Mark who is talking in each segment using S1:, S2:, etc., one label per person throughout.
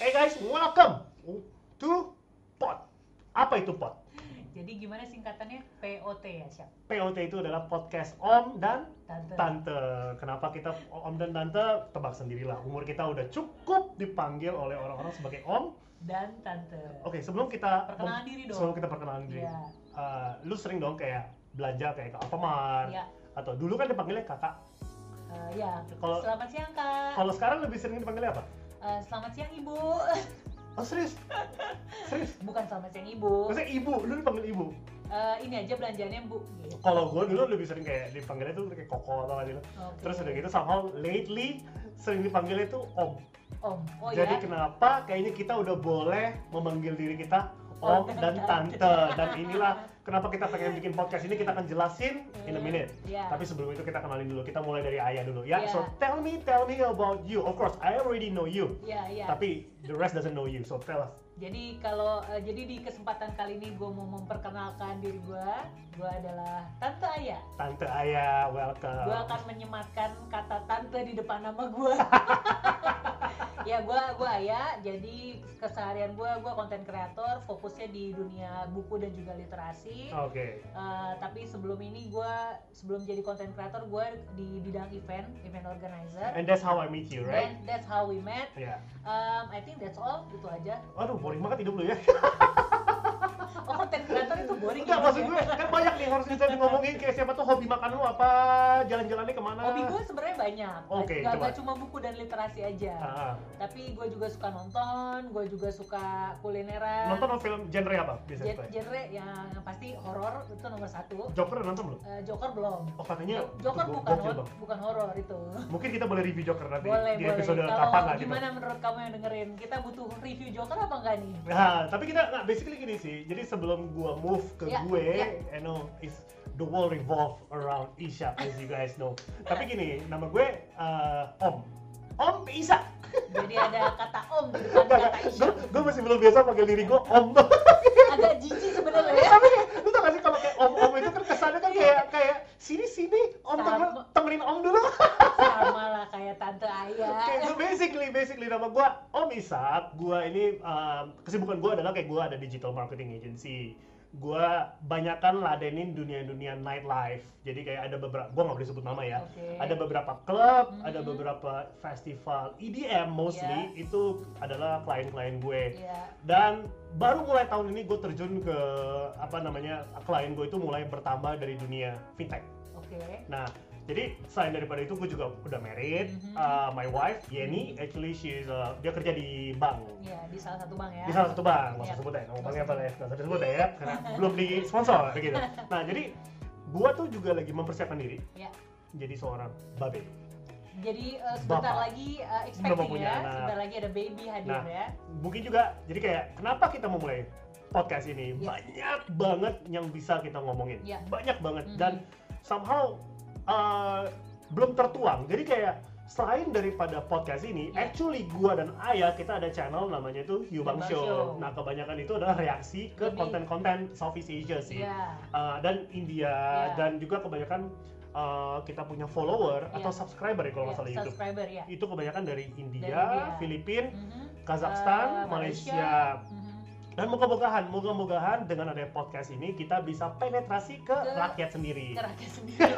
S1: Eh, Welcome to pot. Apa itu pot?
S2: Jadi gimana singkatannya POT ya, Syaf?
S1: POT itu adalah podcast Om dan
S2: Tante.
S1: Tante. Kenapa kita Om dan Tante? Tebak sendirilah. Umur kita udah cukup dipanggil oleh orang-orang sebagai Om.
S2: Dan Tante.
S1: Oke, sebelum kita
S2: Perkenalan diri dong.
S1: sebelum kita Oh, perkenalan diri,
S2: Iya.
S1: eh, lu sering dong kayak belanja kayak ke Alfamart
S2: Iya.
S1: atau dulu kan dipanggilnya kakak.
S2: Eh, ya.
S1: Kalau-
S2: Selamat siang, Kak.
S1: Kalau sekarang lebih sering dipanggilnya apa?
S2: Eh, selamat siang, Ibu.
S1: Oh serius? serius?
S2: Bukan selamat siang, Ibu.
S1: Maksudnya ibu, lu dipanggil ibu.
S2: Eh, ini aja belanjaannya,
S1: Oh,
S2: Bu. Gitu.
S1: Kalau gue dulu lebih sering kayak dipanggilnya tuh kayak koko atau apa gitu.
S2: Oke.
S1: Terus udah gitu somehow lately sering dipanggilnya tuh om.
S2: Om. Oh
S1: Jadi
S2: ya.
S1: kenapa kayaknya kita udah boleh memanggil diri kita om
S2: Om
S1: dan
S2: dan
S1: tante. Dan inilah kenapa kita pengen bikin podcast ini kita akan jelasin in a minute.
S2: Iya.
S1: Tapi sebelum itu kita kenalin dulu, kita mulai dari ayah dulu ya.
S2: Iya.
S1: So tell me, tell me about you. Of course, I already know you.
S2: Iya, iya.
S1: Tapi the rest doesn't know you, so tell us.
S2: Jadi kalau eh, jadi di kesempatan kali ini gue mau memperkenalkan diri gue. Gue adalah Tante Ayah.
S1: Tante Ayah, welcome.
S2: gue akan menyematkan kata tante di depan nama gue ya gue gue ayah jadi keseharian gue gue konten kreator fokusnya di dunia buku dan juga literasi
S1: Oke.
S2: Eh, tapi sebelum ini gue sebelum jadi konten kreator gue di bidang event event organizer
S1: And that's how I meet you, right?
S2: Then that's how we met.
S1: Ya.
S2: Um, I think that's all itu aja.
S1: Aduh, boring banget hidup lu ya.
S2: Oh, konten kreator itu boring.
S1: Enggak,
S2: ya,
S1: maksud
S2: Mas, ya?
S1: gue kan banyak nih yang harus kita ngomongin kayak siapa tuh hobi makan lu apa, jalan-jalannya kemana.
S2: Hobi gue sebenarnya banyak.
S1: Oke,
S2: gak,
S1: coba.
S2: gak cuma buku dan literasi aja.
S1: Ah, ah.
S2: tapi gue juga suka nonton, gue juga suka kulineran.
S1: Nonton ya? film genre apa biasanya?
S2: Gen- genre yang pasti horor itu nomor satu.
S1: Joker udah nonton belum?
S2: Eh, Joker belum.
S1: Oh katanya
S2: Joker
S1: itu go-
S2: bukan
S1: gokil
S2: hor-
S1: banget.
S2: bukan horor itu.
S1: Mungkin kita boleh review Joker nanti
S2: boleh
S1: di
S2: boleh.
S1: episode kapan
S2: Kalau
S1: lah gitu.
S2: gimana menurut kamu yang dengerin? Kita butuh review Joker apa enggak nih?
S1: Nah, tapi kita nah, basically gini sih. Jadi sebelum gua move ke
S2: Ya,
S1: gue,
S2: ya.
S1: I know is the world revolve around Isha as you guys know. tapi gini, nama gue eh, Om. Om Isa.
S2: Jadi ada kata Om di depan kata Isya.
S1: Gue gue masih belum biasa panggil diri gue Om.
S2: Agak jijik sebenarnya ya.
S1: Tapi lu tau gak sih kalau kayak om om itu kan kesannya kan kayak kayak sini sini om temen,
S2: Iya. Sama. Iya.
S1: temenin om dulu.
S2: Sama lah kayak tante
S1: Kayak
S2: ayah.
S1: so basically basically nama gua Om Isak. Gua ini um, kesibukan gua adalah kayak gua ada digital marketing agency. Gua banyakkan ladenin dunia-dunia nightlife. Jadi kayak ada beberapa gua nggak boleh sebut nama ya.
S2: Oke.
S1: Ada beberapa klub,
S2: Mhm.
S1: ada beberapa festival EDM mostly itu adalah klien-klien gue
S2: Iya.
S1: dan baru mulai tahun ini gue terjun ke apa namanya klien gue itu mulai bertambah dari dunia fintech
S2: Oke.
S1: nah jadi selain daripada itu gue juga udah married
S2: Mhm.
S1: Uh, my wife Yeni actually she's uh, dia kerja di bank
S2: Iya, di salah satu bank ya.
S1: di salah satu bank nggak usah
S2: Iya.
S1: sebut ya ngomong banknya apa ya nggak usah disebut ya karena belum di sponsor gitu nah jadi gue tuh juga lagi mempersiapkan diri
S2: Iya.
S1: jadi seorang babe
S2: Jadi eh, sebentar
S1: Bapak.
S2: lagi eh, expecting
S1: punya
S2: ya,
S1: anak.
S2: sebentar lagi ada baby hadir
S1: Nah.
S2: ya.
S1: mungkin juga jadi kayak kenapa kita memulai podcast ini
S2: Yes.
S1: banyak banget yang bisa kita ngomongin
S2: Ya.
S1: banyak banget dan somehow uh, belum tertuang jadi kayak selain daripada podcast ini
S2: Ya.
S1: actually gua dan Ayah kita ada channel namanya itu Hubang
S2: Hubang
S1: Show.
S2: Show.
S1: nah kebanyakan itu adalah reaksi ke
S2: Lebih.
S1: konten-konten Southeast Asia sih
S2: Iya.
S1: Uh, dan India
S2: Ya.
S1: dan juga kebanyakan uh, kita punya follower
S2: Ya.
S1: atau subscriber ya kalau nggak
S2: Ya,
S1: salah YouTube
S2: subscriber ya.
S1: itu kebanyakan dari India,
S2: Dari India.
S1: Filipina,
S2: Mhm,
S1: Kazakhstan,
S2: Eh,
S1: Malaysia.
S2: mhm.
S1: Dan moga-mogahan, moga-mogahan dengan ada podcast ini kita bisa penetrasi ke,
S2: Ke-
S1: rakyat sendiri.
S2: Ke rakyat sendiri.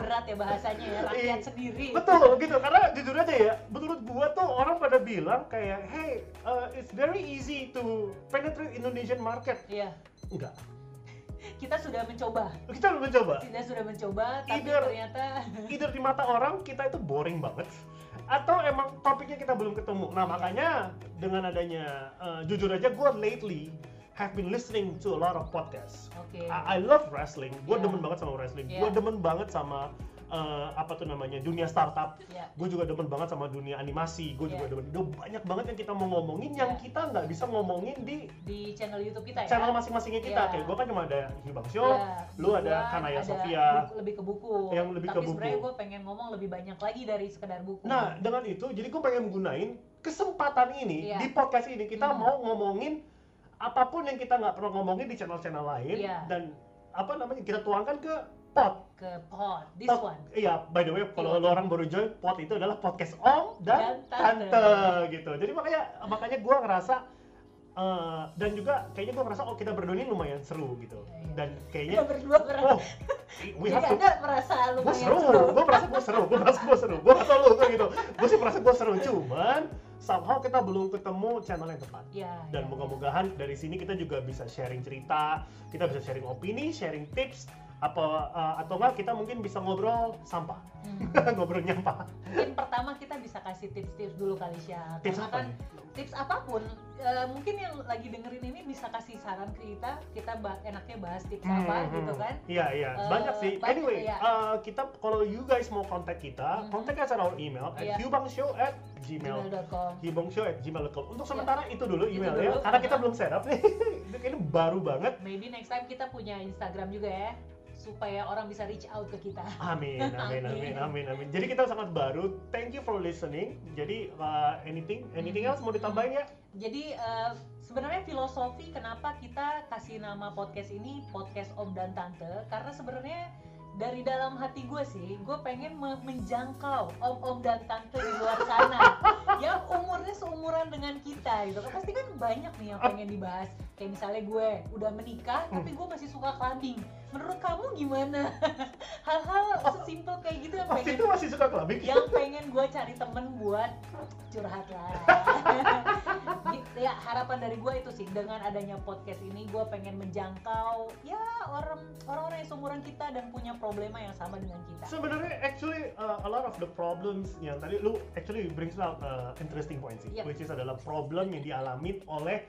S2: Berat ya bahasanya ya rakyat
S1: Iya.
S2: sendiri.
S1: Betul gitu, karena jujur aja ya, menurut gua tuh orang pada bilang kayak, hey, uh, it's very easy to penetrate Indonesian market.
S2: Iya.
S1: Enggak,
S2: Kita sudah mencoba.
S1: kita belum mencoba.
S2: Kita sudah mencoba tapi
S1: Either-
S2: ternyata
S1: Either di mata orang kita itu boring banget, atau emang topiknya kita belum ketemu. Nah makanya dengan adanya, uh, jujur aja gua lately have been listening to a lot of podcasts.
S2: Oke.
S1: I, I love wrestling. Gue
S2: Yeah.
S1: demen banget sama wrestling. Gue
S2: Yeah.
S1: demen banget sama eh, apa tuh namanya dunia startup.
S2: Ya.
S1: Gue juga demen banget sama dunia animasi. Gue juga
S2: Yeah.
S1: demen. Duh, banyak banget yang kita mau ngomongin yang
S2: Yeah.
S1: kita nggak bisa ngomongin di
S2: Di channel YouTube Iya. kita ya.
S1: channel masing-masingnya kita.
S2: Yeah.
S1: Kayak gue kan cuma ada Hibang Show,
S2: Iya,
S1: lu ada
S2: gua
S1: Kanaya
S2: ada
S1: Sofia.
S2: buku- lebih ke buku.
S1: Yang lebih
S2: tapi
S1: ke buku.
S2: sebenarnya gue pengen ngomong lebih banyak lagi dari sekedar buku.
S1: Nah dengan itu, jadi gue pengen gunain kesempatan ini
S2: Yeah.
S1: di podcast ini kita
S2: Hmm.
S1: mau ngomongin
S2: Iya.
S1: apapun yang kita nggak pernah ngomongin di channel-channel lain
S2: Yeah.
S1: dan apa namanya kita tuangkan ke pot.
S2: ke pod this
S1: Pot-
S2: one
S1: Iya, by the way, kalau lo orang baru join, pot itu adalah podcast om dan,
S2: Dan tante.
S1: tante. gitu. Jadi makanya makanya gua ngerasa eh, dan juga kayaknya gua ngerasa oh kita berdua ini lumayan seru gitu.
S2: Iya.
S1: Dan
S2: kita
S1: kayaknya
S2: berdua merasa
S1: oh we have
S2: jadi
S1: to
S2: anda merasa
S1: gue
S2: lumayan
S1: seru, gue merasa gue seru, gue merasa gue seru, gue merasa lu gue gitu, gue sih merasa gue seru, cuman somehow kita belum ketemu channel yang tepat
S2: ya
S1: dan
S2: ya.
S1: moga-mogahan dari sini kita juga bisa sharing cerita, kita bisa sharing opini, sharing tips, apa eh, atau enggak kita mungkin bisa ngobrol sampah,
S2: Hmm.
S1: ngobrol nyampah.
S2: mungkin pertama kita bisa kasih tips-tips dulu kali Syah
S1: Tips
S2: Karena
S1: apa
S2: kan
S1: nih?
S2: tips apapun eh, mungkin yang lagi dengerin ini bisa kasih saran ke kita kita ba- enaknya bahas tips apa
S1: Hmm,
S2: gitu
S1: hmm.
S2: kan
S1: Iya iya,
S2: Eh,
S1: banyak sih.
S2: banyak,
S1: anyway,
S2: iya.
S1: eh, kita kalau you guys mau kontak kita,
S2: Mhm.
S1: kontak us at our email at
S2: Iya.
S1: hubangshow at gmail
S2: gmail.com
S1: hibangshow@gmail.com. Untuk sementara itu dulu
S2: Iya. Itu
S1: emailnya,
S2: dulu. Iya.
S1: karena kita belum set up nih. Ini baru banget.
S2: maybe next time kita punya Instagram juga ya supaya orang bisa reach out ke kita
S1: Amin, amin, amin, amin, amin. Jadi kita sangat baru. Thank you for listening. Jadi uh, anything,
S2: Hmm.
S1: anything else mau ditambahin ya?
S2: jadi eh, sebenarnya filosofi kenapa kita kasih nama podcast ini podcast om dan tante karena sebenarnya dari dalam hati gue sih gue pengen me- menjangkau om-om dan tante di luar sana yang umurnya seumuran dengan kita gitu kan pasti kan banyak nih yang pengen dibahas kayak misalnya gue udah menikah tapi gue masih suka clubbing menurut kamu gimana hal-hal sesimpel kayak gitu yang
S1: Waktu
S2: pengen
S1: itu masih suka clubbing.
S2: yang pengen gue cari temen buat curhat lah Gitu ya harapan dari gue itu sih dengan adanya podcast ini gue pengen menjangkau ya orang orang-orang yang seumuran kita dan punya problema yang sama dengan kita
S1: Sebenarnya actually uh, a lot of the problems yang tadi lu actually brings out uh, interesting point sih,
S2: Yep.
S1: which is adalah problem yang dialami oleh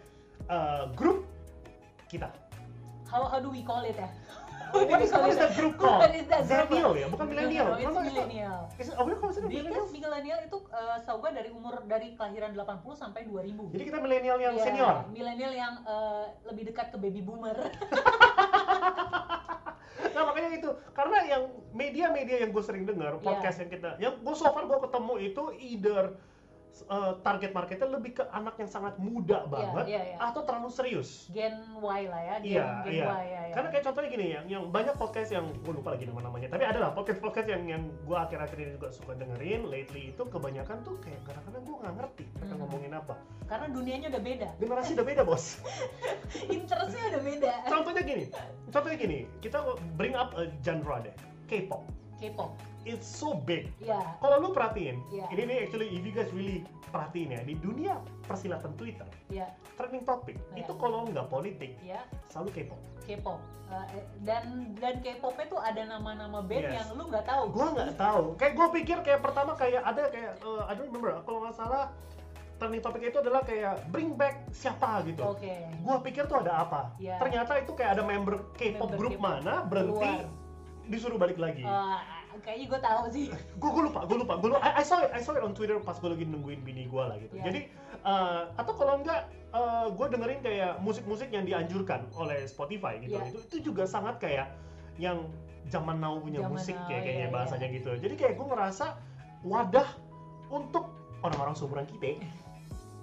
S1: uh, grup kita.
S2: how how do we call it ya
S1: What is, what is that group called?
S2: What is that group
S1: Millennial ya, bukan millennial.
S2: No,
S1: Kenapa
S2: it's
S1: kita-
S2: millennial
S1: Is it- oh, kenapa sih millennial?
S2: because millennial itu eh, setahu gue dari umur dari kelahiran 80 sampai 2000
S1: Jadi kita milenial yang
S2: Iya,
S1: senior.
S2: millennial yang eh, lebih dekat ke baby boomer
S1: Nah makanya itu karena yang media-media yang gue sering dengar podcast yang kita, yang gue so far gue ketemu itu either uh, target marketnya lebih ke anak yang sangat muda banget
S2: iya, iya.
S1: atau terlalu serius.
S2: Gen Y lah ya, Gen,
S1: Iya,
S2: Gen
S1: iya.
S2: Y ya. ya.
S1: Karena kayak contohnya gini yang, yang banyak podcast yang gue lupa lagi nama namanya, tapi ada lah podcast-podcast yang yang gue akhir-akhir ini juga suka dengerin lately itu kebanyakan tuh kayak kadang-kadang gue nggak ngerti mereka
S2: Hmm.
S1: ngomongin apa.
S2: Karena dunianya udah beda,
S1: Generasi udah beda bos.
S2: interestnya udah beda.
S1: Contohnya gini, contohnya gini, kita bring up a genre deh, K-pop.
S2: K-pop,
S1: It's so big.
S2: ya,
S1: Kalau lu perhatiin,
S2: Iya.
S1: ini nih actually if you guys really perhatiin ya, di dunia persilatan Twitter,
S2: ya,
S1: trending topic,
S2: Iya.
S1: itu kalau nggak politik,
S2: ya,
S1: selalu K-pop.
S2: K-pop. Eh, eh, dan dan K-popnya tuh ada nama-nama band
S1: Yes.
S2: yang lu nggak tahu.
S1: Gua nggak tahu. Kayak gue pikir kayak pertama kayak ada kayak, eh, I don't remember, kalau nggak salah, trending topik itu adalah kayak bring back siapa gitu.
S2: Oke.
S1: Gua pikir tuh ada apa.
S2: Iya.
S1: Ternyata itu kayak ada member K-pop
S2: Member
S1: grup
S2: K-pop
S1: mana berhenti,
S2: keluar.
S1: disuruh balik lagi.
S2: Eh, kayaknya gue tahu sih.
S1: gue gue lupa gue lupa gue I, I saw it I saw it on Twitter pas gue lagi nungguin bini gue lah gitu
S2: Iya.
S1: jadi eh, atau kalau enggak gue dengerin kayak musik-musik yang dianjurkan oleh Spotify gitu
S2: Iya.
S1: itu itu juga sangat kayak yang zaman now punya
S2: Zaman
S1: musik
S2: now,
S1: ya kayaknya
S2: iya,
S1: bahasanya gitu jadi kayak gue ngerasa wadah untuk orang-orang seumuran kita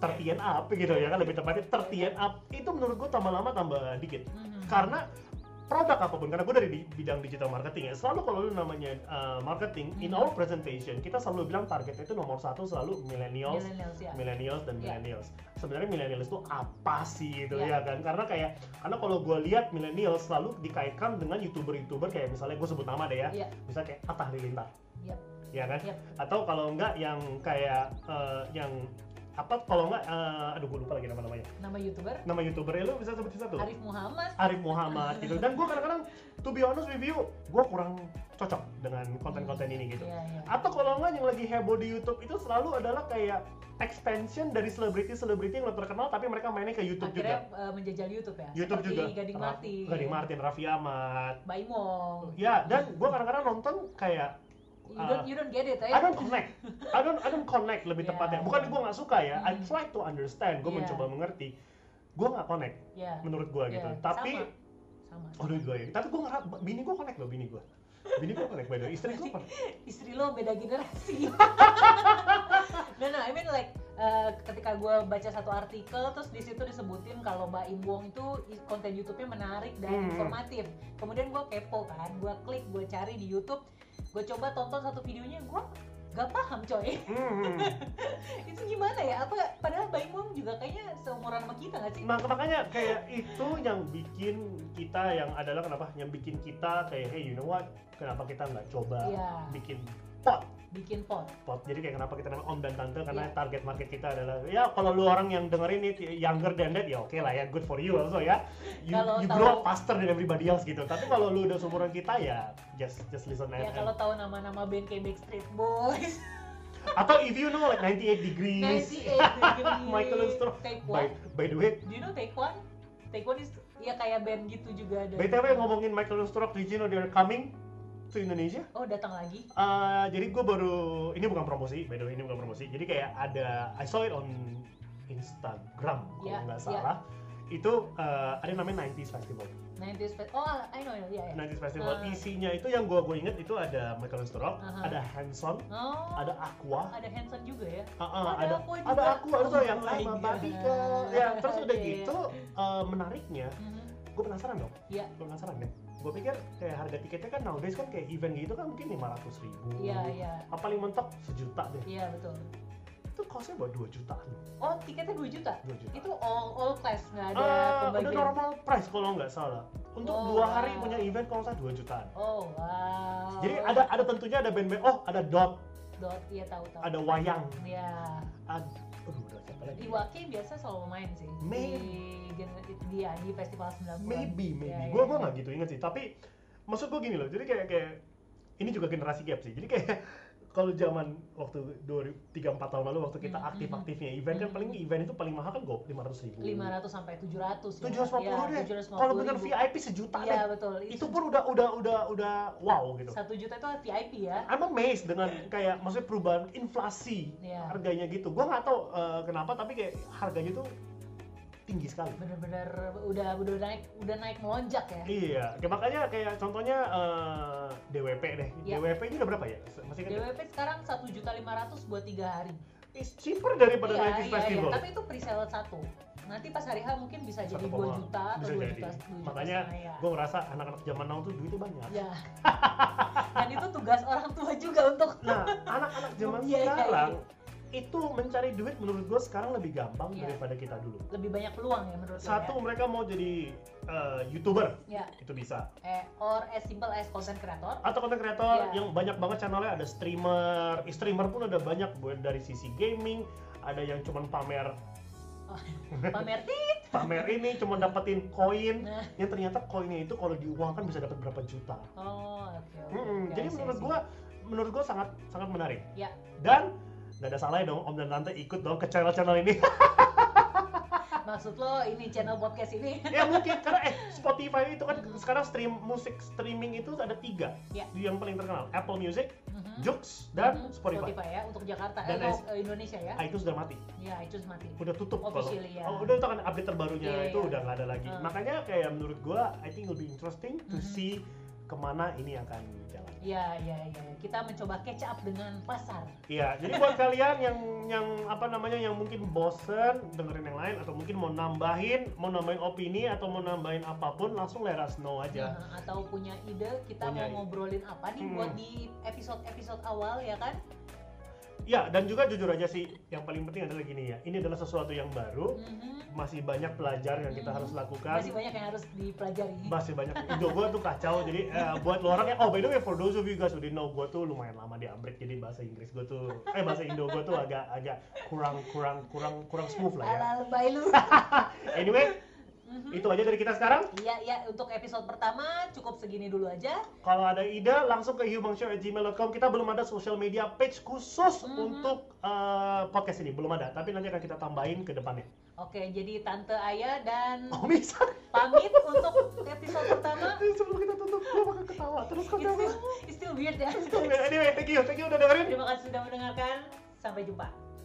S1: 30 and up gitu ya kan lebih tepatnya 30 and up itu menurut gue tambah lama tambah dikit
S2: Mhm.
S1: karena produk apapun karena gue dari di- bidang digital marketing ya selalu kalau lu namanya uh, marketing in
S2: Hmm.
S1: our presentation kita selalu bilang targetnya itu nomor satu selalu millennials
S2: millennials ya.
S1: millennials dan
S2: Ya.
S1: millennials sebenarnya millennials itu apa sih gitu ya
S2: Ya.
S1: kan karena kayak karena kalau gue lihat millennials selalu dikaitkan dengan youtuber-youtuber kayak misalnya gue sebut nama deh ya
S2: Iya.
S1: bisa kayak Atta Halilintar
S2: Yap.
S1: ya kan
S2: Yap.
S1: atau kalau enggak yang kayak eh, yang apa kalau enggak eh, aduh gue lupa lagi nama namanya
S2: Nama youtuber
S1: nama youtubernya lu bisa sebutin satu
S2: Arif Muhammad.
S1: Arif Muhammad gitu dan gue kadang-kadang to be honest with you gue kurang cocok dengan konten-konten ini gitu
S2: Iya, iya.
S1: atau kalau nggak yang lagi heboh di YouTube itu selalu adalah kayak expansion dari selebriti-selebriti yang lo terkenal tapi mereka mainnya ke YouTube
S2: Akhirnya
S1: juga
S2: eh, menjajal YouTube ya.
S1: YouTube
S2: Seperti
S1: juga
S2: Gading
S1: Ra-
S2: Martin.
S1: Gading Martin Raffi Ahmad
S2: Baimong.
S1: ya dan ah. gue kadang-kadang nonton kayak
S2: You don't you don't get it, eh?
S1: I don't connect I don't I don't connect lebih
S2: Ya.
S1: tepatnya bukan gue nggak suka ya I
S2: Hmm.
S1: try to understand gue
S2: Ya.
S1: mencoba mengerti gue nggak connect
S2: Ya.
S1: menurut gue gitu
S2: ya.
S1: tapi
S2: sama. sama.
S1: Aduh gue ya. Tapi gue ngerap, bini gue connect loh, bini gue. Bini gue connect, by the way. Istri gue connect.
S2: istri lo beda generasi. no no, I mean like eh, ketika gue baca satu artikel terus di situ disebutin kalau Mbak Im Wong itu i- konten YouTube-nya menarik dan
S1: Hmm.
S2: informatif. Kemudian gue kepo kan, gue klik, gue cari di YouTube, gue coba tonton satu videonya, gue gak paham coy
S1: Hmm.
S2: itu gimana ya apa padahal Mbak Im Wong juga kayaknya seumuran sama kita gak sih
S1: Mak- makanya kayak itu yang bikin kita yang adalah kenapa yang bikin kita kayak hey you know what kenapa kita nggak coba
S2: Iya.
S1: bikin pot
S2: bikin pot
S1: pot jadi kayak kenapa kita namanya om dan tante karena
S2: Iya.
S1: target market kita adalah ya kalau lu orang yang denger ini younger than that ya oke lah ya good for you also ya you,
S2: Kalau
S1: you grow
S2: tahu-
S1: up faster than everybody else gitu tapi kalau lu udah seumuran kita ya just just listen
S2: ya
S1: and-
S2: kalau tahu nama-nama band kayak Backstreet Boys
S1: atau if you know like 98 degrees
S2: 98 Degrees,
S1: Michael and Stro-
S2: Take
S1: by,
S2: One
S1: by the way
S2: do you know Take One Take One is ya kayak band gitu juga ada
S1: BTW ngomongin Michael Strock, did you know they're coming to Indonesia?
S2: oh datang lagi Ah,
S1: Eh, jadi gue baru ini bukan promosi, by the way ini bukan promosi. Jadi kayak ada I saw it on Instagram kalau
S2: Ya,
S1: nggak
S2: ya.
S1: salah. Itu eh, ada yang namanya 90s Festival.
S2: 90s Fest- oh I know ya ya
S1: 90s Festival
S2: Ah.
S1: isinya itu yang gue gue inget itu ada Michael Strock,
S2: Aha.
S1: ada Hanson,
S2: oh
S1: ada Aqua,
S2: ada Hanson juga ya
S1: Ah, ah,
S2: Ada
S1: ada
S2: Aqua juga.
S1: ada Aqua itu
S2: Oh
S1: yang
S2: my
S1: sama
S2: God.
S1: Babika. Ya terus udah
S2: Iya, iya.
S1: gitu eh, menariknya,
S2: Mhm.
S1: gue penasaran dong.
S2: Iya.
S1: Gue penasaran deh. Gue pikir kayak harga tiketnya kan nowadays kan kayak event gitu kan mungkin 500 ribu.
S2: iya iya
S1: Apa paling mentok sejuta deh.
S2: iya betul
S1: itu costnya buat 2 jutaan
S2: oh tiketnya 2 juta
S1: 2 juta
S2: itu all all class nggak ada
S1: Ah, udah
S2: pembagian
S1: normal price kalau nggak salah untuk
S2: Oh,
S1: dua hari
S2: wow.
S1: punya event kalau nggak salah 2 jutaan
S2: oh wow
S1: jadi ada ada tentunya ada band-band oh ada dot
S2: dot iya tahu tahu
S1: ada wayang
S2: ya
S1: ada aduh udah siapa lagi
S2: Iwaki biasa selalu main sih
S1: Maybe.
S2: di gen- di, di festival 90
S1: maybe maybe
S2: Ya,
S1: gue
S2: ya,
S1: gue
S2: ya.
S1: nggak gitu inget sih tapi maksud gue gini loh jadi kayak kayak ini juga generasi gap sih jadi kayak kalau zaman waktu 2, 3, 4 tahun lalu waktu kita
S2: Hmm,
S1: aktif-aktifnya event kan
S2: Hmm.
S1: paling event itu paling mahal kan gue 500 ribu
S2: 500 sampai 700 ya.
S1: 750
S2: Ya,
S1: deh
S2: 750
S1: kalau bener
S2: ribu.
S1: VIP sejuta
S2: Iya
S1: deh
S2: betul
S1: itu pun udah udah udah udah wow gitu.
S2: satu juta itu VIP ya
S1: I'm amazed dengan kayak maksudnya perubahan inflasi
S2: Iya.
S1: harganya gitu. Gua nggak tahu eh, kenapa tapi kayak harganya tuh tinggi sekali.
S2: bener-bener udah udah naik udah naik melonjak ya
S1: Iya, kayak makanya kayak contohnya eh, DWP deh.
S2: Iya.
S1: DWP ini udah berapa ya? Masih kan?
S2: DWP sekarang 1.500 buat tiga hari
S1: It's cheaper daripada
S2: Iya,
S1: naik
S2: iya,
S1: festival.
S2: iya. tapi itu pre-sale satu nanti pas hari H mungkin bisa jadi
S1: 1,5.
S2: 2 juta atau
S1: Bisa
S2: 2
S1: jadi.
S2: juta, 2 juta
S1: Makanya
S2: setengah, ya.
S1: Gua ngerasa anak-anak zaman now tuh duitnya banyak.
S2: ya dan itu tugas orang tua juga untuk
S1: Nah, anak-anak zaman
S2: Iya, iya, iya.
S1: sekarang itu mencari duit menurut gua sekarang lebih gampang
S2: Iya.
S1: daripada kita dulu.
S2: lebih banyak peluang ya menurut lo
S1: Satu mereka mau jadi eh, youtuber
S2: ya, ya.
S1: itu bisa
S2: Eh, or as simple as content creator
S1: atau konten kreator
S2: Iya.
S1: yang banyak banget channelnya ada streamer streamer pun ada banyak buat dari sisi gaming ada yang cuman pamer
S2: pamer ti
S1: pamer ini cuman dapetin koin
S2: nah
S1: yang ya ternyata koinnya itu kalau diuangkan bisa dapat berapa juta
S2: oh oke oke.
S1: Mm-mm.
S2: Ya,
S1: jadi
S2: I see,
S1: menurut
S2: I see.
S1: gua menurut gua sangat sangat menarik
S2: Iya.
S1: dan nggak ada salahnya dong om dan tante ikut dong ke channel-channel ini
S2: Ah, maksud lo ini channel podcast ini
S1: ya mungkin karena eh Spotify itu kan sekarang stream musik streaming itu ada tiga
S2: Iya.
S1: yang paling terkenal Apple Music,
S2: Mhm.
S1: Joox dan
S2: Mhm.
S1: Spotify.
S2: ya untuk Jakarta
S1: Dan
S2: eh,
S1: as-
S2: untuk, eh, Indonesia ya
S1: Ah, itu sudah mati
S2: ya iTunes mati
S1: udah tutup kalau
S2: Officially, ya.
S1: oh, udah itu kan update terbarunya
S2: Iya,
S1: itu
S2: iya.
S1: udah nggak ada lagi
S2: Hmm.
S1: makanya kayak menurut gua I think will be interesting to
S2: Mhm.
S1: see kemana ini akan jalan
S2: ya ya ya kita mencoba catch up dengan pasar
S1: iya jadi buat kalian yang yang apa namanya yang mungkin bosen dengerin yang lain atau mungkin mau nambahin mau nambahin opini atau mau nambahin apapun langsung let us know aja
S2: Nah, atau punya ide kita
S1: Iya. Punya
S2: mau ngobrolin apa nih
S1: Hmm.
S2: buat di episode-episode awal ya kan?
S1: ya dan juga jujur aja sih yang paling penting adalah gini ya ini adalah sesuatu yang baru
S2: Mhm.
S1: masih banyak belajar yang kita
S2: Mhm.
S1: harus lakukan
S2: Masih banyak yang harus dipelajari.
S1: masih banyak Indo gue tuh kacau jadi eh, buat lo orang yang oh by the way for those of you guys who didn't know gue tuh lumayan lama di Amrik jadi bahasa Inggris gue tuh eh bahasa Indo gue tuh agak agak kurang kurang kurang kurang smooth lah ya
S2: Ala lebay lu.
S1: anyway
S2: Mhm.
S1: itu aja dari kita sekarang
S2: Iya iya untuk episode pertama cukup segini dulu aja.
S1: kalau ada ide langsung ke humanshow@gmail.com kita belum ada social media page khusus
S2: Mhm.
S1: untuk eh, podcast ini belum ada tapi nanti akan kita tambahin ke depannya
S2: Oke, jadi Tante Aya dan
S1: oh bisa
S2: pamit untuk episode pertama.
S1: sebelum kita tutup gue bakal ketawa terus
S2: It's
S1: kenapa
S2: still, it's still weird ya.
S1: anyway thank you thank you udah dengerin
S2: Terima kasih sudah mendengarkan. Sampai jumpa.